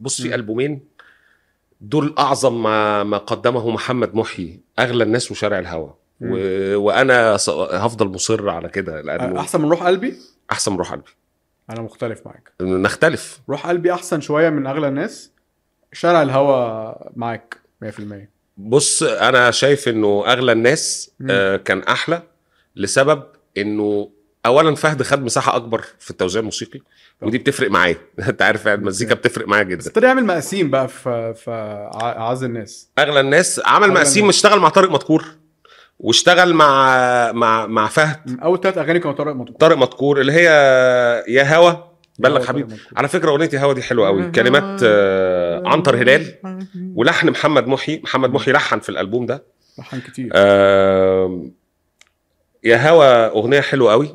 بص في البومين دول اعظم ما ما قدمه محمد محيي اغلى الناس وشارع الهوى و... وانا ص- هفضل مصر على كده لانه احسن من روح قلبي احسن من روح قلبي انا مختلف معاك نختلف روح قلبي احسن شويه من اغلى الناس شارع الهوا معاك 100% بص انا شايف انه اغلى الناس مم. آه كان احلى لسبب انه اولا فهد خد مساحه اكبر في التوزيع الموسيقي ودي بتفرق معايا انت عارف يعني المزيكا بتفرق معايا بس جدا ابتدى يعمل مقاسيم بقى في في ع- اعز الناس اغلى الناس عمل أغلى مقاسيم الناس. اشتغل مع طارق مدكور واشتغل مع مع مع فهد اول ثلاث اغاني كانوا طارق مطلوب طارق مدكور اللي هي يا هوا بلغ حبيبي على فكره اغنيه يا هوا دي حلوه قوي كلمات آه، عنتر هلال ولحن محمد محي محمد محي لحن في الالبوم ده لحن كتير آه، آم، يا هوا اغنيه حلوه قوي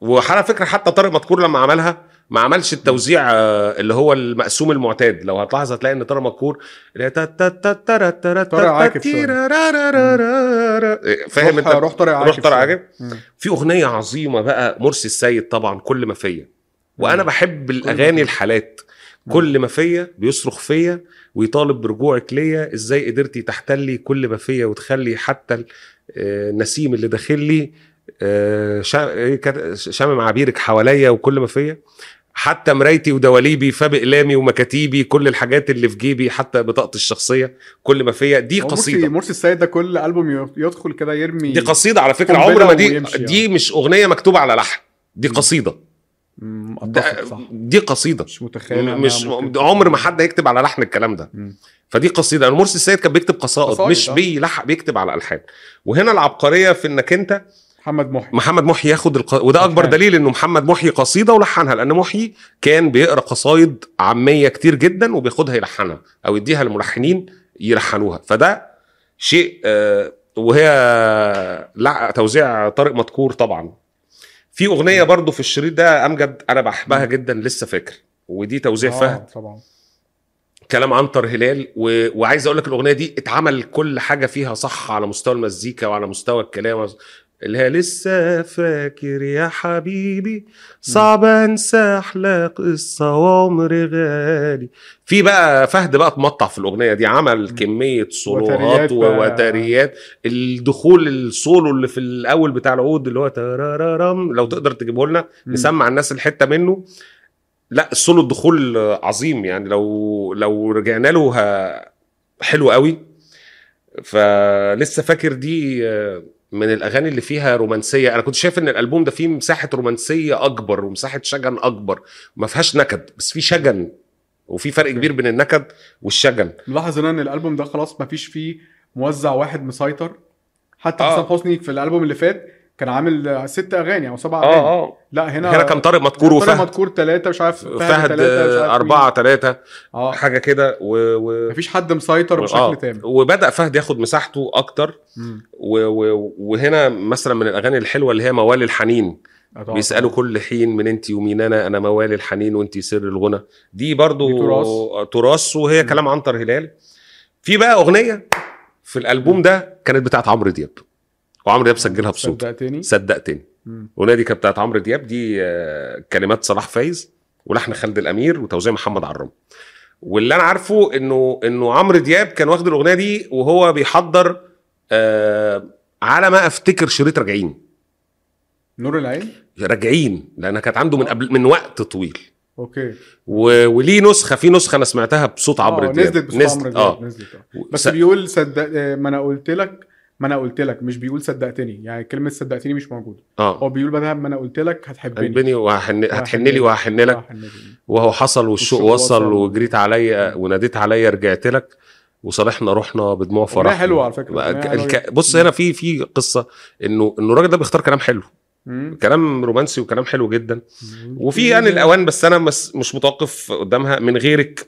وعلى فكره حتى طارق مدكور لما عملها ما عملش التوزيع آه، اللي هو المقسوم المعتاد لو هتلاحظ هتلاقي ان طارق مدكور اللي هي تا- تا- تا- تا- را- تا- را- طارق تا- عاكف تي- شوية. را- را- را- را- را- را. فاهم روح انت روح طارق عاجب روح طارق شوية. عاجب مم. في اغنيه عظيمه بقى مرسي السيد طبعا كل ما فيا وانا مم. بحب ما الاغاني فيا. الحالات مم. كل ما فيا بيصرخ فيا ويطالب برجوعك ليا ازاي قدرتي تحتلي كل ما فيا وتخلي حتى ال- آه، النسيم اللي داخل لي آه، شا- إيه كان- شامم عبيرك حواليا وكل ما فيا حتى مرايتي ودواليبي فبأقلامي ومكاتيبي كل الحاجات اللي في جيبي حتى بطاقتي الشخصيه كل ما فيا دي هو مرسي- قصيده مرسي السيد ده كل البوم ي- يدخل كده يرمي دي قصيده على فكره قنبلة عمر ما دي ويمشي، آه. دي مش اغنيه مكتوبه على لحن دي قصيده مم، ده أتفق صح دي قصيده مش متخيل م- مش م- عمر ما حد هيكتب على لحن الكلام ده مم. فدي قصيده انا مرسي السيد كان بيكتب قصائد قصائد، مش آه. بيلحق بيكتب على الحان وهنا العبقريه في انك انت محمد محي محمد محي ياخد الق... وده اكبر ألحان. دليل انه محمد محي قصيده ولحنها لان محي كان بيقرا قصايد عاميه كتير جدا وبياخدها يلحنها او يديها للملحنين يلحنوها فده شيء آه، وهي لع- توزيع طارق مدكور طبعا في اغنيه برضو في الشريط ده امجد انا بحبها جدا لسه فاكر ودي توزيع آه، فهد طبعا كلام عنتر هلال و... وعايز اقول لك الاغنيه دي اتعمل كل حاجه فيها صح على مستوى المزيكا وعلى مستوى الكلام اللي هي لسه فاكر يا حبيبي صعب انسى احلى قصه وعمر غالي في بقى فهد بقى اتمطع في الاغنيه دي عمل كميه وتريات سولوهات بقى. ووتريات الدخول السولو اللي في الاول بتاع العود اللي هو ترارارام لو تقدر تجيبه لنا مم. نسمع الناس الحته منه لا السولو الدخول عظيم يعني لو لو رجعنا له ه- حلو قوي فلسه فاكر دي آه، من الاغاني اللي فيها رومانسيه انا كنت شايف ان الالبوم ده فيه مساحه رومانسيه اكبر ومساحه شجن اكبر ما فيهاش نكد بس في شجن وفي فرق كبير بين النكد والشجن ملاحظ هنا ان الالبوم ده خلاص مفيش فيه موزع واحد مسيطر حتى آه. حسام حسني في الالبوم اللي فات كان عامل آه، ست اغاني او سبع اغاني اه اه لا هنا هنا كان طارق مدكور طارق وفهد مدكور ثلاثه مش عارف فهد تلاتة، مش عارف مين. آه، اربعه ثلاثه اه حاجه كده و, و... مفيش حد مسيطر آه، بشكل تام وبدا فهد ياخد مساحته اكتر مم. و- و- وهنا مثلا من الاغاني الحلوه اللي هي موالي الحنين آه، طبعاً. بيسالوا كل حين من انت ومين انا انا موالي الحنين وانت سر الغنى دي برضو دي تراث. تراث وهي م. كلام عنتر هلال في بقى اغنيه في الالبوم ده كانت بتاعت عمرو دياب وعمرو دياب سجلها بصوته صدقتني صدقتني مم. الاغنيه دي كانت بتاعت عمرو دياب دي آه، كلمات صلاح فايز ولحن خالد الامير وتوزيع محمد عرام واللي انا عارفه انه انه عمرو دياب كان واخد الاغنيه دي وهو بيحضر آه على ما افتكر شريط راجعين نور العين راجعين لانها كانت عنده آه. من قبل من وقت طويل اوكي و- وليه نسخه في نسخه انا سمعتها بصوت عمرو آه، دياب نزلت بصوت عمرو دياب اه نزلت آه. بس بس بيقول صدق آه، ما انا قلت لك ما انا قلت لك مش بيقول صدقتني يعني كلمه صدقتني مش موجوده اه هو بيقول بدل ما انا قلت لك هتحبني قلبني وهحن هتحن لي وهحن- وهحن لك هتحبني. وهو حصل والشوق والشوق وصل وصل. وجريت عليا وناديت عليا رجعت لك وصالحنا رحنا بدموع فرح حلوة على فكرة، يعني بقى أغنية ك- حلوة الك- جدا. بص هنا في في قصه انه انه الراجل ده بيختار كلام حلو مم. كلام رومانسي وكلام حلو جدا وفي يعني الاوان بس انا مس مش متوقف قدامها من غيرك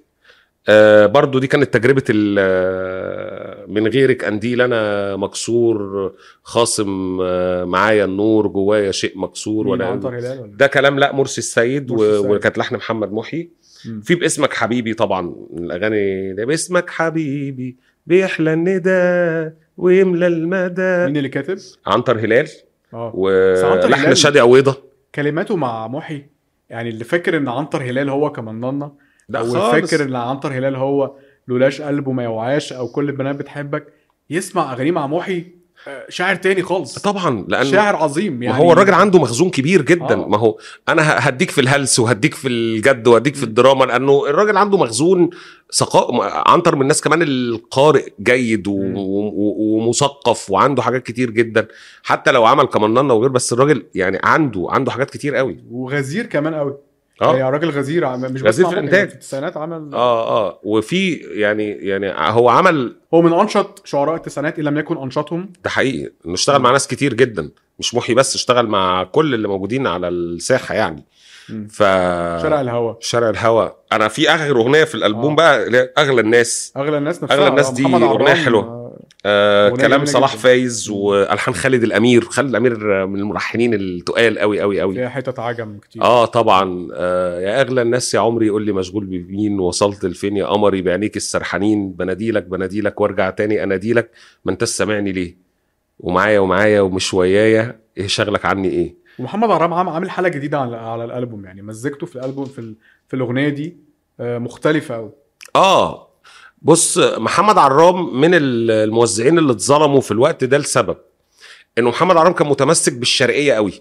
آه برضو دي كانت تجربه ال- آه، من غيرك قنديل انا مكسور خاصم آه، معايا النور جوايا شيء مكسور مين، ولا عنتر هلال ولا ده كلام لا مرسي السيد, مرسي و- السيد. وكانت لحن محمد محي مم. في باسمك حبيبي طبعا من الاغاني ده باسمك حبيبي بيحلى الندى ويملى المدى مين اللي كاتب؟ عنتر هلال اه بس عنتر ولحن هلال- شادي عويضه كلماته مع محي يعني اللي فاكر ان عنتر هلال هو كمنضنه لا هو خالص فاكر ان عنتر هلال هو لولاش قلبه ما يوعاش او كل البنات بتحبك يسمع اغاني مع محي آه، شاعر تاني خالص طبعا لان شاعر عظيم يعني يعني هو الراجل عنده مخزون كبير جدا آه. ما هو انا ه- هديك في الهلس وهديك في الجد وهديك في الدراما لانه الراجل عنده مخزون ثقاء م- عنتر من الناس كمان القارئ جيد و- مم. و- و- ومثقف وعنده حاجات كتير جدا حتى لو عمل كمنانه وغير بس الراجل يعني عنده عنده حاجات كتير قوي وغزير كمان قوي اه يعني راجل غزير عم- مش بس غزير مع في حد، الإنتاج. يعني في التسعينات عمل اه اه وفي يعني يعني هو عمل هو من انشط شعراء التسعينات ان لم يكن انشطهم ده حقيقي انه اشتغل مع ناس كتير جدا مش محي بس اشتغل مع كل اللي موجودين على الساحه يعني ف آه. شارع الهوى شارع الهوا انا في اغلى اغنيه في الالبوم آه. بقى اللي هي اغلى الناس اغلى الناس نفسها أغلى الناس آه، دي محمد أغنية عمران، حلوة. آه، آه أغنية كلام جميلة صلاح جداً. فايز والحان خالد الامير خالد الامير آه، من الملحنين التقال قوي قوي قوي فيها حتت عجم كتير اه طبعا آه يا اغلى الناس يا عمري يقول لي مشغول بمين وصلت لفين يا قمري بعينيك السرحانين بناديلك بناديلك وارجع تاني اناديلك ما انت سامعني ليه ومعايا ومعايا ومش ويايا ايه شغلك عني ايه ومحمد عرام عام- عامل حاله جديده على, على الالبوم يعني مزجته في الالبوم في, ال... في الاغنيه دي آه، مختلفه قوي اه بص محمد عرام من ال- الموزعين اللي اتظلموا في الوقت ده لسبب انه محمد عرام كان متمسك بالشرقيه قوي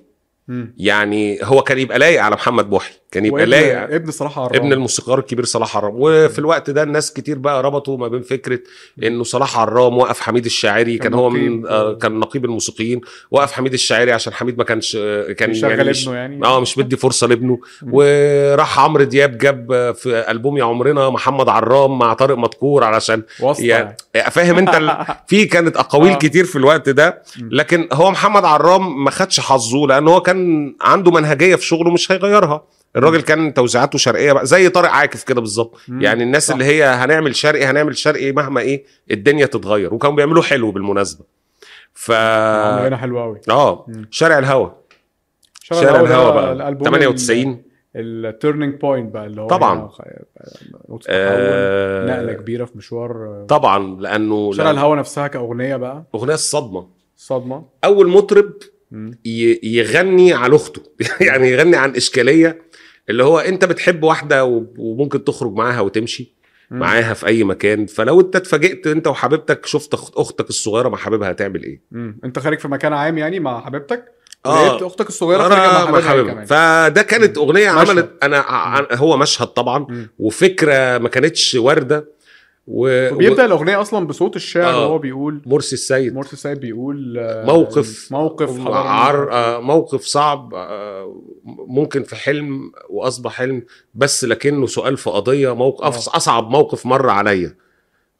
يعني هو كان يبقى لايق على محمد محي كان يبقى لايق ابن, ابن صلاح عرام ابن الموسيقار الكبير صلاح عرام وفي الوقت ده الناس كتير بقى ربطوا ما بين فكره انه صلاح عرام وقف حميد الشاعري كان كان هو نقيب. من آه، كان نقيب الموسيقيين وقف حميد الشاعري عشان حميد ما كانش آه، كان شغال يعني مش- ابنه يعني اه مش مدي فرصه لابنه مم. وراح عمرو دياب جاب آه، في البوم يا عمرنا محمد عرام مع طارق مدكور علشان واسطة يا- يعني. فاهم انت ال... في كانت اقاويل آه. كتير في الوقت ده مم. لكن هو محمد عرام ما خدش حظه لان هو كان عنده منهجيه في شغله مش هيغيرها الراجل كان توزيعاته شرقيه بقى زي طارق عاكف كده بالظبط مم. يعني الناس صح. اللي هي هنعمل شرقي هنعمل شرقي مهما ايه الدنيا تتغير وكانوا بيعملوه حلو بالمناسبه ف عامل هنا حلوه قوي اه مم. شارع الهوا شارع شارع الهوا الهوى بقى الألبوم 98 التيرنينج بوينت بقى اللي هو طبعاً. هنا خ- نقطة تحول، آه، نقله كبيره في مشوار طبعا لانه شارع لأن الهوا نفسها كاغنيه بقى اغنيه الصدمه صدمه اول مطرب مم. ي- يغني على اخته يعني يغني عن اشكاليه اللي هو انت بتحب واحده وب- وممكن تخرج معاها وتمشي مم. معاها في اي مكان فلو انت اتفاجئت انت وحبيبتك شفت أخت- اختك الصغيره مع حبيبها هتعمل ايه مم. انت خارج في مكان عام يعني مع حبيبتك لقيت اه اختك الصغيره أنا خارجه مع مع حبيبها حبيبها كمان فده كانت اغنيه مشهد. عملت انا ع- هو مشهد طبعا مم. وفكره ما كانتش وارده و... وبيبدا الاغنيه اصلا بصوت الشاعر آه. وهو بيقول ومرسي السيد مرسي سايب بيقول آه، موقف موقف حضرنا. عر... آه، موقف صعب آه، ممكن في حلم واصبح حلم بس لكنه سؤال في قضيه موقف آه. اصعب موقف مر عليا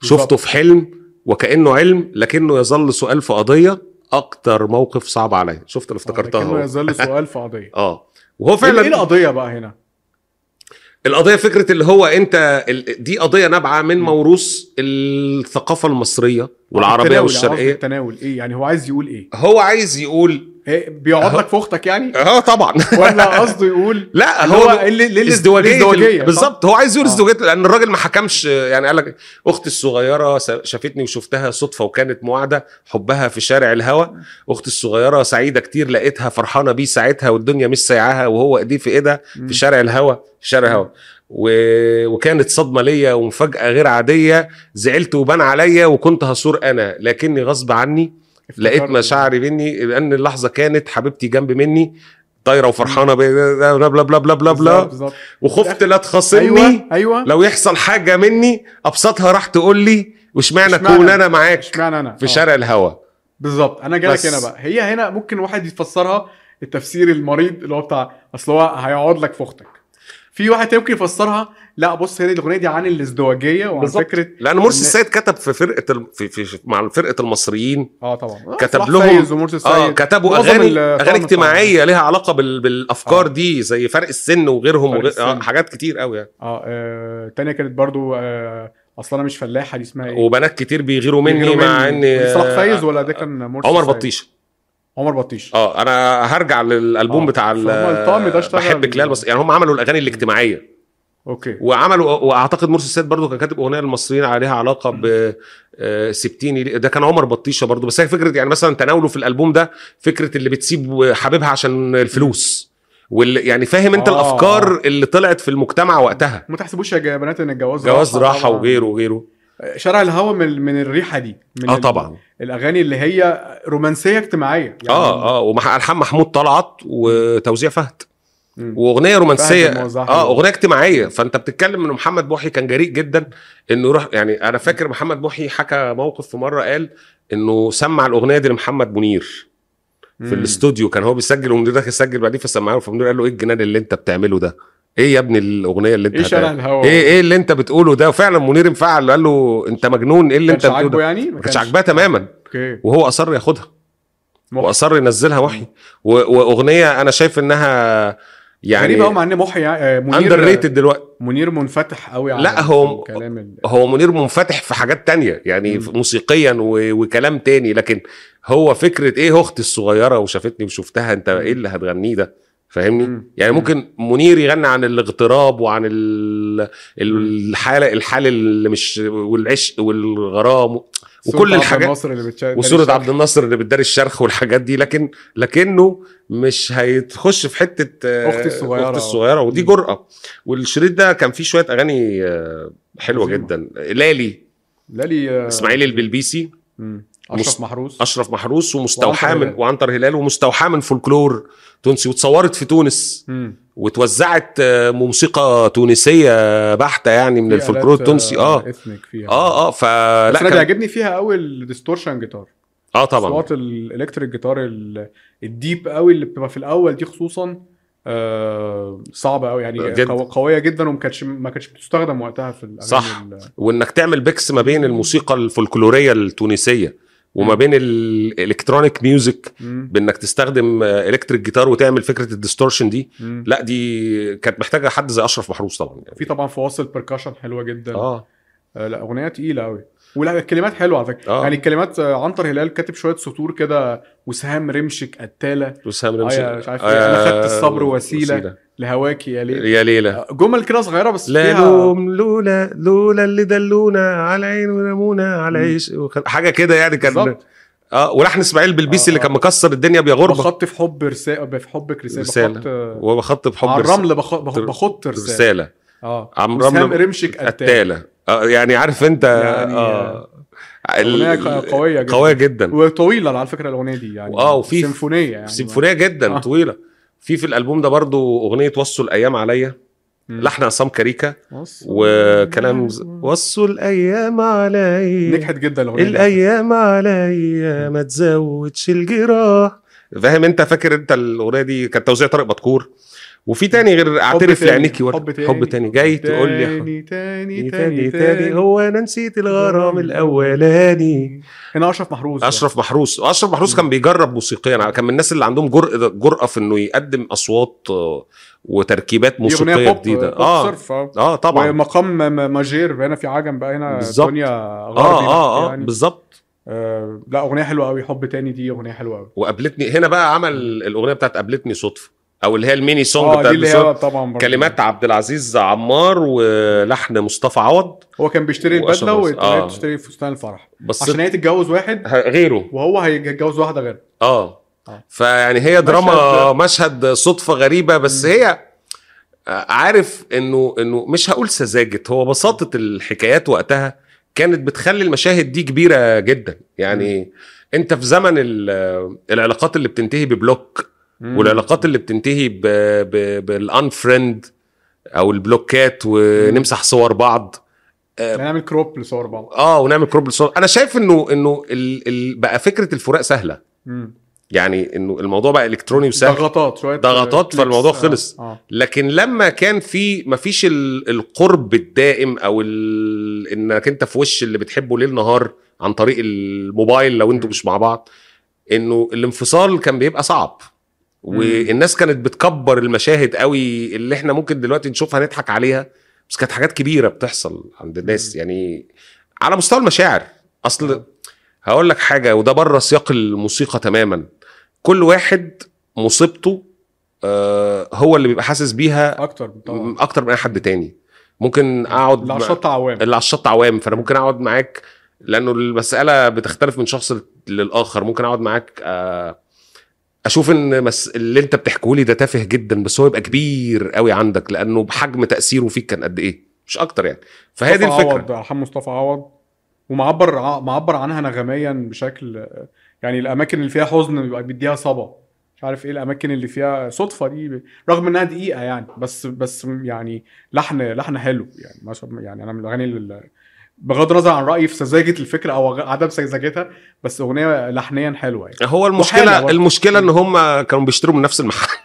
بالظبط. شفته في حلم وكانه علم لكنه يظل سؤال في قضيه اكتر موقف صعب عليا شفت انا افتكرتها آه، لكنه أهو. يظل سؤال في قضيه اه وهو فعلا ايه فعلا القضيه بقى هنا؟ القضيه فكره اللي هو انت ال- دي قضيه نابعه من م. موروث الثقافه المصريه والعربيه التناول، قصدي والشرقيه التناول ايه يعني هو عايز يقول ايه؟ هو عايز يقول إيه، بيقعد أهو. لك في اختك يعني اه طبعا ولا قصده يقول لا اللي هو هو اللي اللي الازدواجيه الازدواجيه بالظبط هو عايز يقول إيه آه. ازدواجيه لان الراجل ما حكمش يعني قال لك اختي الصغيره س- شافتني وشفتها صدفه وكانت معده حبها في شارع الهوى اختي الصغيره سعيده كتير لقيتها فرحانه بيه ساعتها والدنيا مش سايعاها وهو ايديه في ايدها مم. في شارع الهوى في شارع الهوى و... وكانت صدمه ليا ومفاجاه غير عاديه زعلت وبان عليا وكنت هصور انا لكني غصب عني لقيت افتكرت. مشاعري مني لان اللحظه كانت حبيبتي جنب مني طايره وفرحانه بي- بلا بلا بلا بلا بلا بالظبط، بلا بالظبط. وخفت لا تخاصمني ايوه ايوه لو يحصل حاجه مني ابسطها راح تقول لي واشمعنى اشمعنى؟ اكون انا معاك اشمعنى انا؟ في آه. شارع الهوا بالظبط انا جالك بس. هنا بقى هي هنا ممكن واحد يفسرها التفسير المريض اللي هو بتاع اصل هو هيقعد لك في اختك في واحد تاني ممكن يفسرها لا بص هنا الاغنيه دي عن الازدواجيه وعن بالظبط. فكره لان مرسي إن- السيد كتب في فرقه ال... في... في مع فرقه المصريين اه طبعا كتب صلاح لهم- فايز ومرسي اه السيد. كتبوا معظم اغاني ال- اغاني طبعاً اجتماعيه لها علاقه بال... بالافكار آه. دي زي فرق السن وغيرهم فرق وغير... آه السن. حاجات كتير قوي يعني اه آه، تانية كانت برضو آه اصل انا مش فلاحه دي اسمها ايه وبنات كتير بيغيروا مني مع ان ودي صلاح فايز ولا ده كان مرسي عمر السيد؟ بطيشه عمر بطيش اه انا هرجع للالبوم آه. بتاع ال- فهم الطقم ده اشتغل- بحبك ليه المصري يعني هم عملوا الاغاني الاجتماعيه اوكي وعملوا واعتقد مرسي السيد برضو كان كاتب اغنيه للمصريين عليها علاقه ب آه، سبتيني ليه- ده كان عمر بطيشه برضو بس هي فكره يعني مثلا تناوله في الالبوم ده فكره اللي بتسيب حبيبها عشان الفلوس وال... يعني فاهم انت آه. الافكار اللي طلعت في المجتمع وقتها ما تحسبوش يا جا- بنات ان الجواز جواز راحه طبعاً. آه، وغيره وغيره شارع الهوا من من الريحه دي من اه ال- طبعا الاغاني اللي هي رومانسيه اجتماعيه يعني اه اه وملحان محمود طلعت وتوزيع فهد مم. واغنيه رومانسيه فهد الموزع اه حلو. اغنيه اجتماعيه فانت بتتكلم انه محمد محي كان جريء جدا انه يروح يعني انا فاكر محمد محي حكى موقف في مره قال انه سمع الاغنيه دي لمحمد منير في مم. الاستوديو كان هو بيسجل ومنير داخل يسجل بعدين فسمعها له فمنير قال له ايه الجنان اللي انت بتعمله ده ايه يا ابني الاغنيه اللي انت ايه شارع هتعملها؟ الهوا ايه ايه اللي انت بتقوله ده وفعلا منير انفعل قال له انت مجنون ايه اللي انت كانش بتقوله عاجبه ده يعني ما كانتش عاجباه تماما اوكي وهو اصر ياخدها محي. واصر ينزلها وحي و- واغنيه انا شايف انها يعني غريبه قوي مع ان محي آه، منير اندر ريتد دلوقتي منير منفتح قوي على لا، هو- الكلام ال... هو منير منفتح في حاجات تانية يعني مم. موسيقيا و... وكلام تاني لكن هو فكرة ايه اختي الصغيرة وشافتني وشفتها انت ايه اللي هتغنيه ده فاهمني مم. يعني مم. ممكن منير يغني عن الاغتراب وعن ال... الحالة الحال اللي مش والعشق والغرام صورة وكل عبد الحاجات الناصر اللي بتشا... وصورة عبد الناصر اللي بتداري الشرخ والحاجات دي لكن لكنه مش هيتخش في حتة آه، أختي الصغيرة. أختي الصغيرة ودي مم. جرأة والشريط ده كان فيه شوية أغاني آه، حلوة عظيمة. جدا لالي لالي آه، إسماعيل البلبيسي مم. مس- اشرف محروس أشرف محروس ومستوحاة وعنتر من هلال. وعنتر هلال ومستوحاة من فولكلور تونسي وتصورت في تونس مم. واتوزعت آه، موسيقى تونسية بحتة يعني من في الفولكلور آلات، التونسي اه اثنيك فيها اه اه إيه. بس فلا انا كان- بيعجبني فيها قوي الديستورشن جيتار اه طبعا اصوات الالكتريك جيتار ال- الديب قوي اللي بتبقى في الاول دي خصوصا آه صعبه قوي يعني جد. قو- قويه جدا وما كانتش ما كانتش بتستخدم وقتها في الاغاني صح. ال- وانك تعمل بيكس ما بين الموسيقى الفولكلوريه التونسيه وما بين الالكترونيك ميوزك مم. بانك تستخدم الكتريك جيتار وتعمل فكره الديستورشن دي مم. لا دي كانت محتاجه حد زي اشرف محروس طبعا يعني. في طبعا فواصل بركشن حلوه جدا اه آه، لا اغنيه تقيله قوي ولا الكلمات حلوه على فكره آه. يعني الكلمات آه، عنتر هلال كاتب شويه سطور كده وسهام رمشك قتاله وسام آه، مش عارف إيه. أنا خدت الصبر وسيلة. لهواكي يا ليل يا ليله آه، جمل كده صغيره بس لا فيها لوم لولا لولا اللي دلونا على عين ونمونا على مم. عيش وخ- حاجه كده يعني كان بالظبط. اه ولحن اسماعيل بلبيسي آه، اللي آه. كان مكسر الدنيا بيغربه بخط في حب رساله في حبك رساله رسالة. بخط آه، وبخط بحب على رسالة. الرمل بخ- بخ- تر- بخط رساله رساله اه عم وسهام رمل رمشك قتاله قتاله آه، يعني عارف انت يعني، اه ال- اغنيه ق- قويه جدا قويه جدا وطويله على فكره الاغنيه دي يعني وآه، وفي- سيمفونيه يعني سيمفونيه جدا آه. طويله في في الالبوم ده برضو اغنيه وصوا الايام عليا مم. لحن عصام كاريكا بص. يعني وكلام ز- وصوا الايام عليا نجحت جدا الاغنيه دي. الايام عليا ما تزودش الجراح فاهم انت فاكر انت الاغنيه دي كانت توزيع طارق بطكور وفي تاني غير اعترف تاني، لعينيكي ورد. حب تاني. يعني حب تاني جاي تقول لي يا تاني تاني تاني تاني تاني تاني هو انا نسيت الغرام الاولاني هنا اشرف محروس بقى. اشرف محروس اشرف محروس كان بيجرب موسيقيا كان من الناس اللي عندهم جرأة جرأة في انه يقدم اصوات آه، وتركيبات دي أغنية موسيقيه بوب- جديده بوب اه صرف، اه اه طبعا ومقام ما- ما- ماجير هنا في عجم بقى هنا بالظبط. دنيا اه غربي اه اه يعني. بالظبط آه، لا اغنيه حلوه قوي حب تاني دي اغنيه حلوه قوي وقابلتني هنا بقى عمل الاغنيه بتاعت قابلتني صدفه او اللي هي الميني سونج اه دي بتاعت اللي بسبب هي طبعا برضه. كلمات عبد العزيز عمار ولحن مصطفى عوض هو كان بيشتري وأشرف البدله محروس. والتانية آه. بتشتري فستان الفرح بس عشان هي تتجوز واحد ه- غيره وهو هيتجوز واحده غير اه آه. فيعني هي دراما مشهد, صدفه غريبه بس مم. هي آه، عارف انه انه مش هقول سذاجه هو بساطه الحكايات وقتها كانت بتخلي المشاهد دي كبيره جدا يعني انت في زمن ال- آه، العلاقات اللي بتنتهي ببلوك والعلاقات اللي بتنتهي ب- ب- بالانفريند او البلوكات ونمسح صور بعض هنعمل كروب يعني لصور بعض اه ونعمل كروب للصور انا شايف انه انه ال- ال- بقى فكره الفراق سهله مم. يعني انه الموضوع بقى الكتروني وسهل ضغطات شويه ضغطات، كليكس. فالموضوع آه، خلص. اه لكن لما كان في مفيش ال- القرب الدائم او ال... انك انت في وش اللي بتحبه ليل نهار عن طريق الموبايل لو انتوا مش مع بعض انه الانفصال كان بيبقى صعب والناس كانت بتكبر المشاهد قوي اللي احنا ممكن دلوقتي نشوفها نضحك عليها بس كانت حاجات كبيره بتحصل عند الناس يعني على مستوى المشاعر اصل هقول لك حاجه وده بره سياق الموسيقى تماما كل واحد مصيبته آه، هو اللي بيبقى حاسس بيها اكتر طبعا اكتر من اي حد تاني ممكن اقعد اللي على الشط عوام اللي على الشط عوام فانا ممكن اقعد معاك لانه المساله بتختلف من شخص للاخر ممكن اقعد معاك آه، اشوف ان مس... اللي انت بتحكيه لي ده تافه جدا بس هو يبقى كبير قوي عندك لانه بحجم تاثيره فيك كان قد ايه مش اكتر يعني فهي دي مصطفى الفكره عوض عشان مصطفى عوض ومعبر ع- معبر عنها نغميا بشكل يعني الاماكن اللي فيها حزن بيبقى بيديها صبا مش عارف ايه الاماكن اللي فيها صدفه دي ب- رغم انها دقيقه يعني بس بس يعني لحن لحن حلو يعني ما شاء- يعني انا من الاغاني اللي بغض النظر عن رايي في سذاجه الفكره او غ- عدم سذاجتها بس اغنيه لحنيا حلوه يعني هو وحالة المشكله برضه. المشكله ان هم كانوا بيشتروا من نفس المحل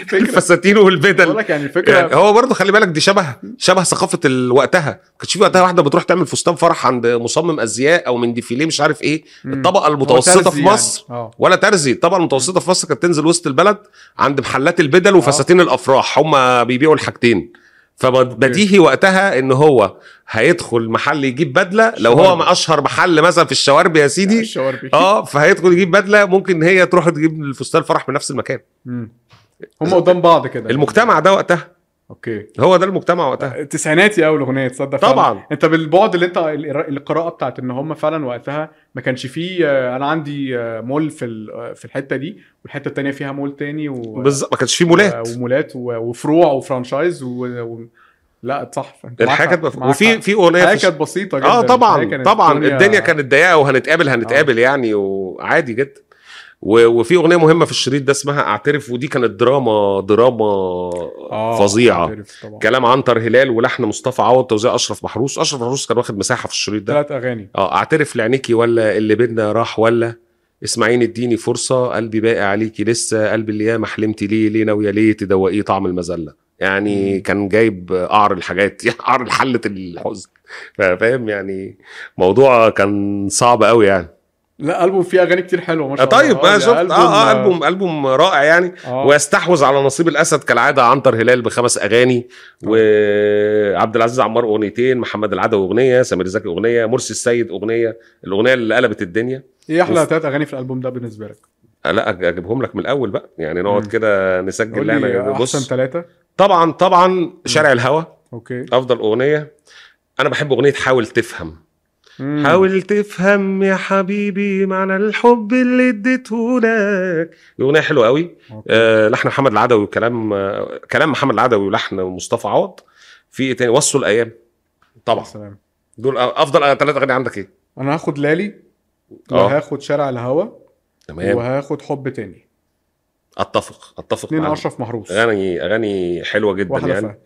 الفكره الفساتين والبدل بقول لك يعني الفكره يعني هو برضه خلي بالك دي شبه شبه ثقافه ال- وقتها ما كانش في وقتها واحده بتروح تعمل فستان فرح عند مصمم ازياء او من ديفيليه مش عارف ايه مم. الطبقه هو المتوسطه ترزي في مصر يعني. اه ولا ترزي الطبقه المتوسطه في مصر كانت تنزل وسط البلد عند محلات آه. البدل وفساتين الافراح هم بيبيعوا الحاجتين فبديهي وقتها ان هو هيدخل محل يجيب بدله لو شوارب. هو اشهر محل مثلا في الشوارب يا سيدي الشوارب اه فهيدخل يجيب بدله ممكن هي تروح تجيب الفستان الفرح من نفس المكان مم. هم قدام بعض كده المجتمع ده وقتها اوكي هو ده المجتمع وقتها تسعيناتي قوي الاغنيه تصدق فعلاً. طبعاً. انت بالبعد اللي انت القراءه بتاعت ان هم فعلا وقتها ما كانش فيه آه، انا عندي آه، مول في ال- في الحته دي والحته التانية فيها مول تاني و... آه، بالظبط ما كانش فيه مولات ومولات و... وفروع وفرانشايز و... و... لا صح أنت معاك الحاجه حق، كانت مف- معاك وفي حق. في اغنيه الحياة في كانت بسيطه جدا اه الحياة طبعا كانت آه. طبعا الدنيا كانت ضيقه وهنتقابل هنتقابل يعني وعادي جدا و- وفي اغنيه مهمه في الشريط ده اسمها اعترف ودي كانت دراما دراما آه، فظيعه أعترف طبعا كلام عنتر هلال ولحن مصطفى عوض توزيع اشرف محروس اشرف محروس كان واخد مساحه في الشريط ده ثلاث اغاني اه اعترف لعينيكي ولا اللي بينا راح ولا اسمعيني اديني فرصه قلبي باقي عليكي لسه قلبي اللي ياما حلمت ليه ليه ناويه ليه تدوقيه طعم المذله يعني كان جايب قعر الحاجات يعني قعر حله الحزن فا- فاهم يعني موضوع كان صعب قوي يعني لا البوم فيه اغاني كتير حلوه ما شاء الله طيب يا بقى شفت اه اه البوم البوم رائع يعني آه. ويستحوذ على نصيب الاسد كالعاده عنتر هلال بخمس اغاني آه. وعبد العزيز عمار اغنيتين محمد العدوي اغنيه سمير زكي اغنيه مرسي السيد اغنيه الاغنيه اللي قلبت الدنيا ايه احلى وف- ثلاث اغاني في الالبوم ده بالنسبه لك؟ آه، لا أج- اجيبهم لك من الاول بقى يعني نقعد مم. كده نسجل قول اللي احنا لي احسن بص ثلاثه طبعا طبعا شارع الهوى اوكي افضل اغنيه انا بحب اغنيه حاول تفهم مم. حاول تفهم يا حبيبي معنى الحب اللي اديته لك اغنيه حلوه قوي أوكي. آه لحن محمد العدوي وكلام آه كلام محمد العدوي ولحن مصطفى عوض في ايه تاني وصوا الايام طبعا سلام دول آه، افضل ثلاث اغاني عندك ايه انا هاخد لالي آه. وهاخد شارع الهوى تمام وهاخد حب تاني اتفق اتفق اتنين معاك. اشرف محروس اغاني اغاني حلوه جدا واحده يعني فهد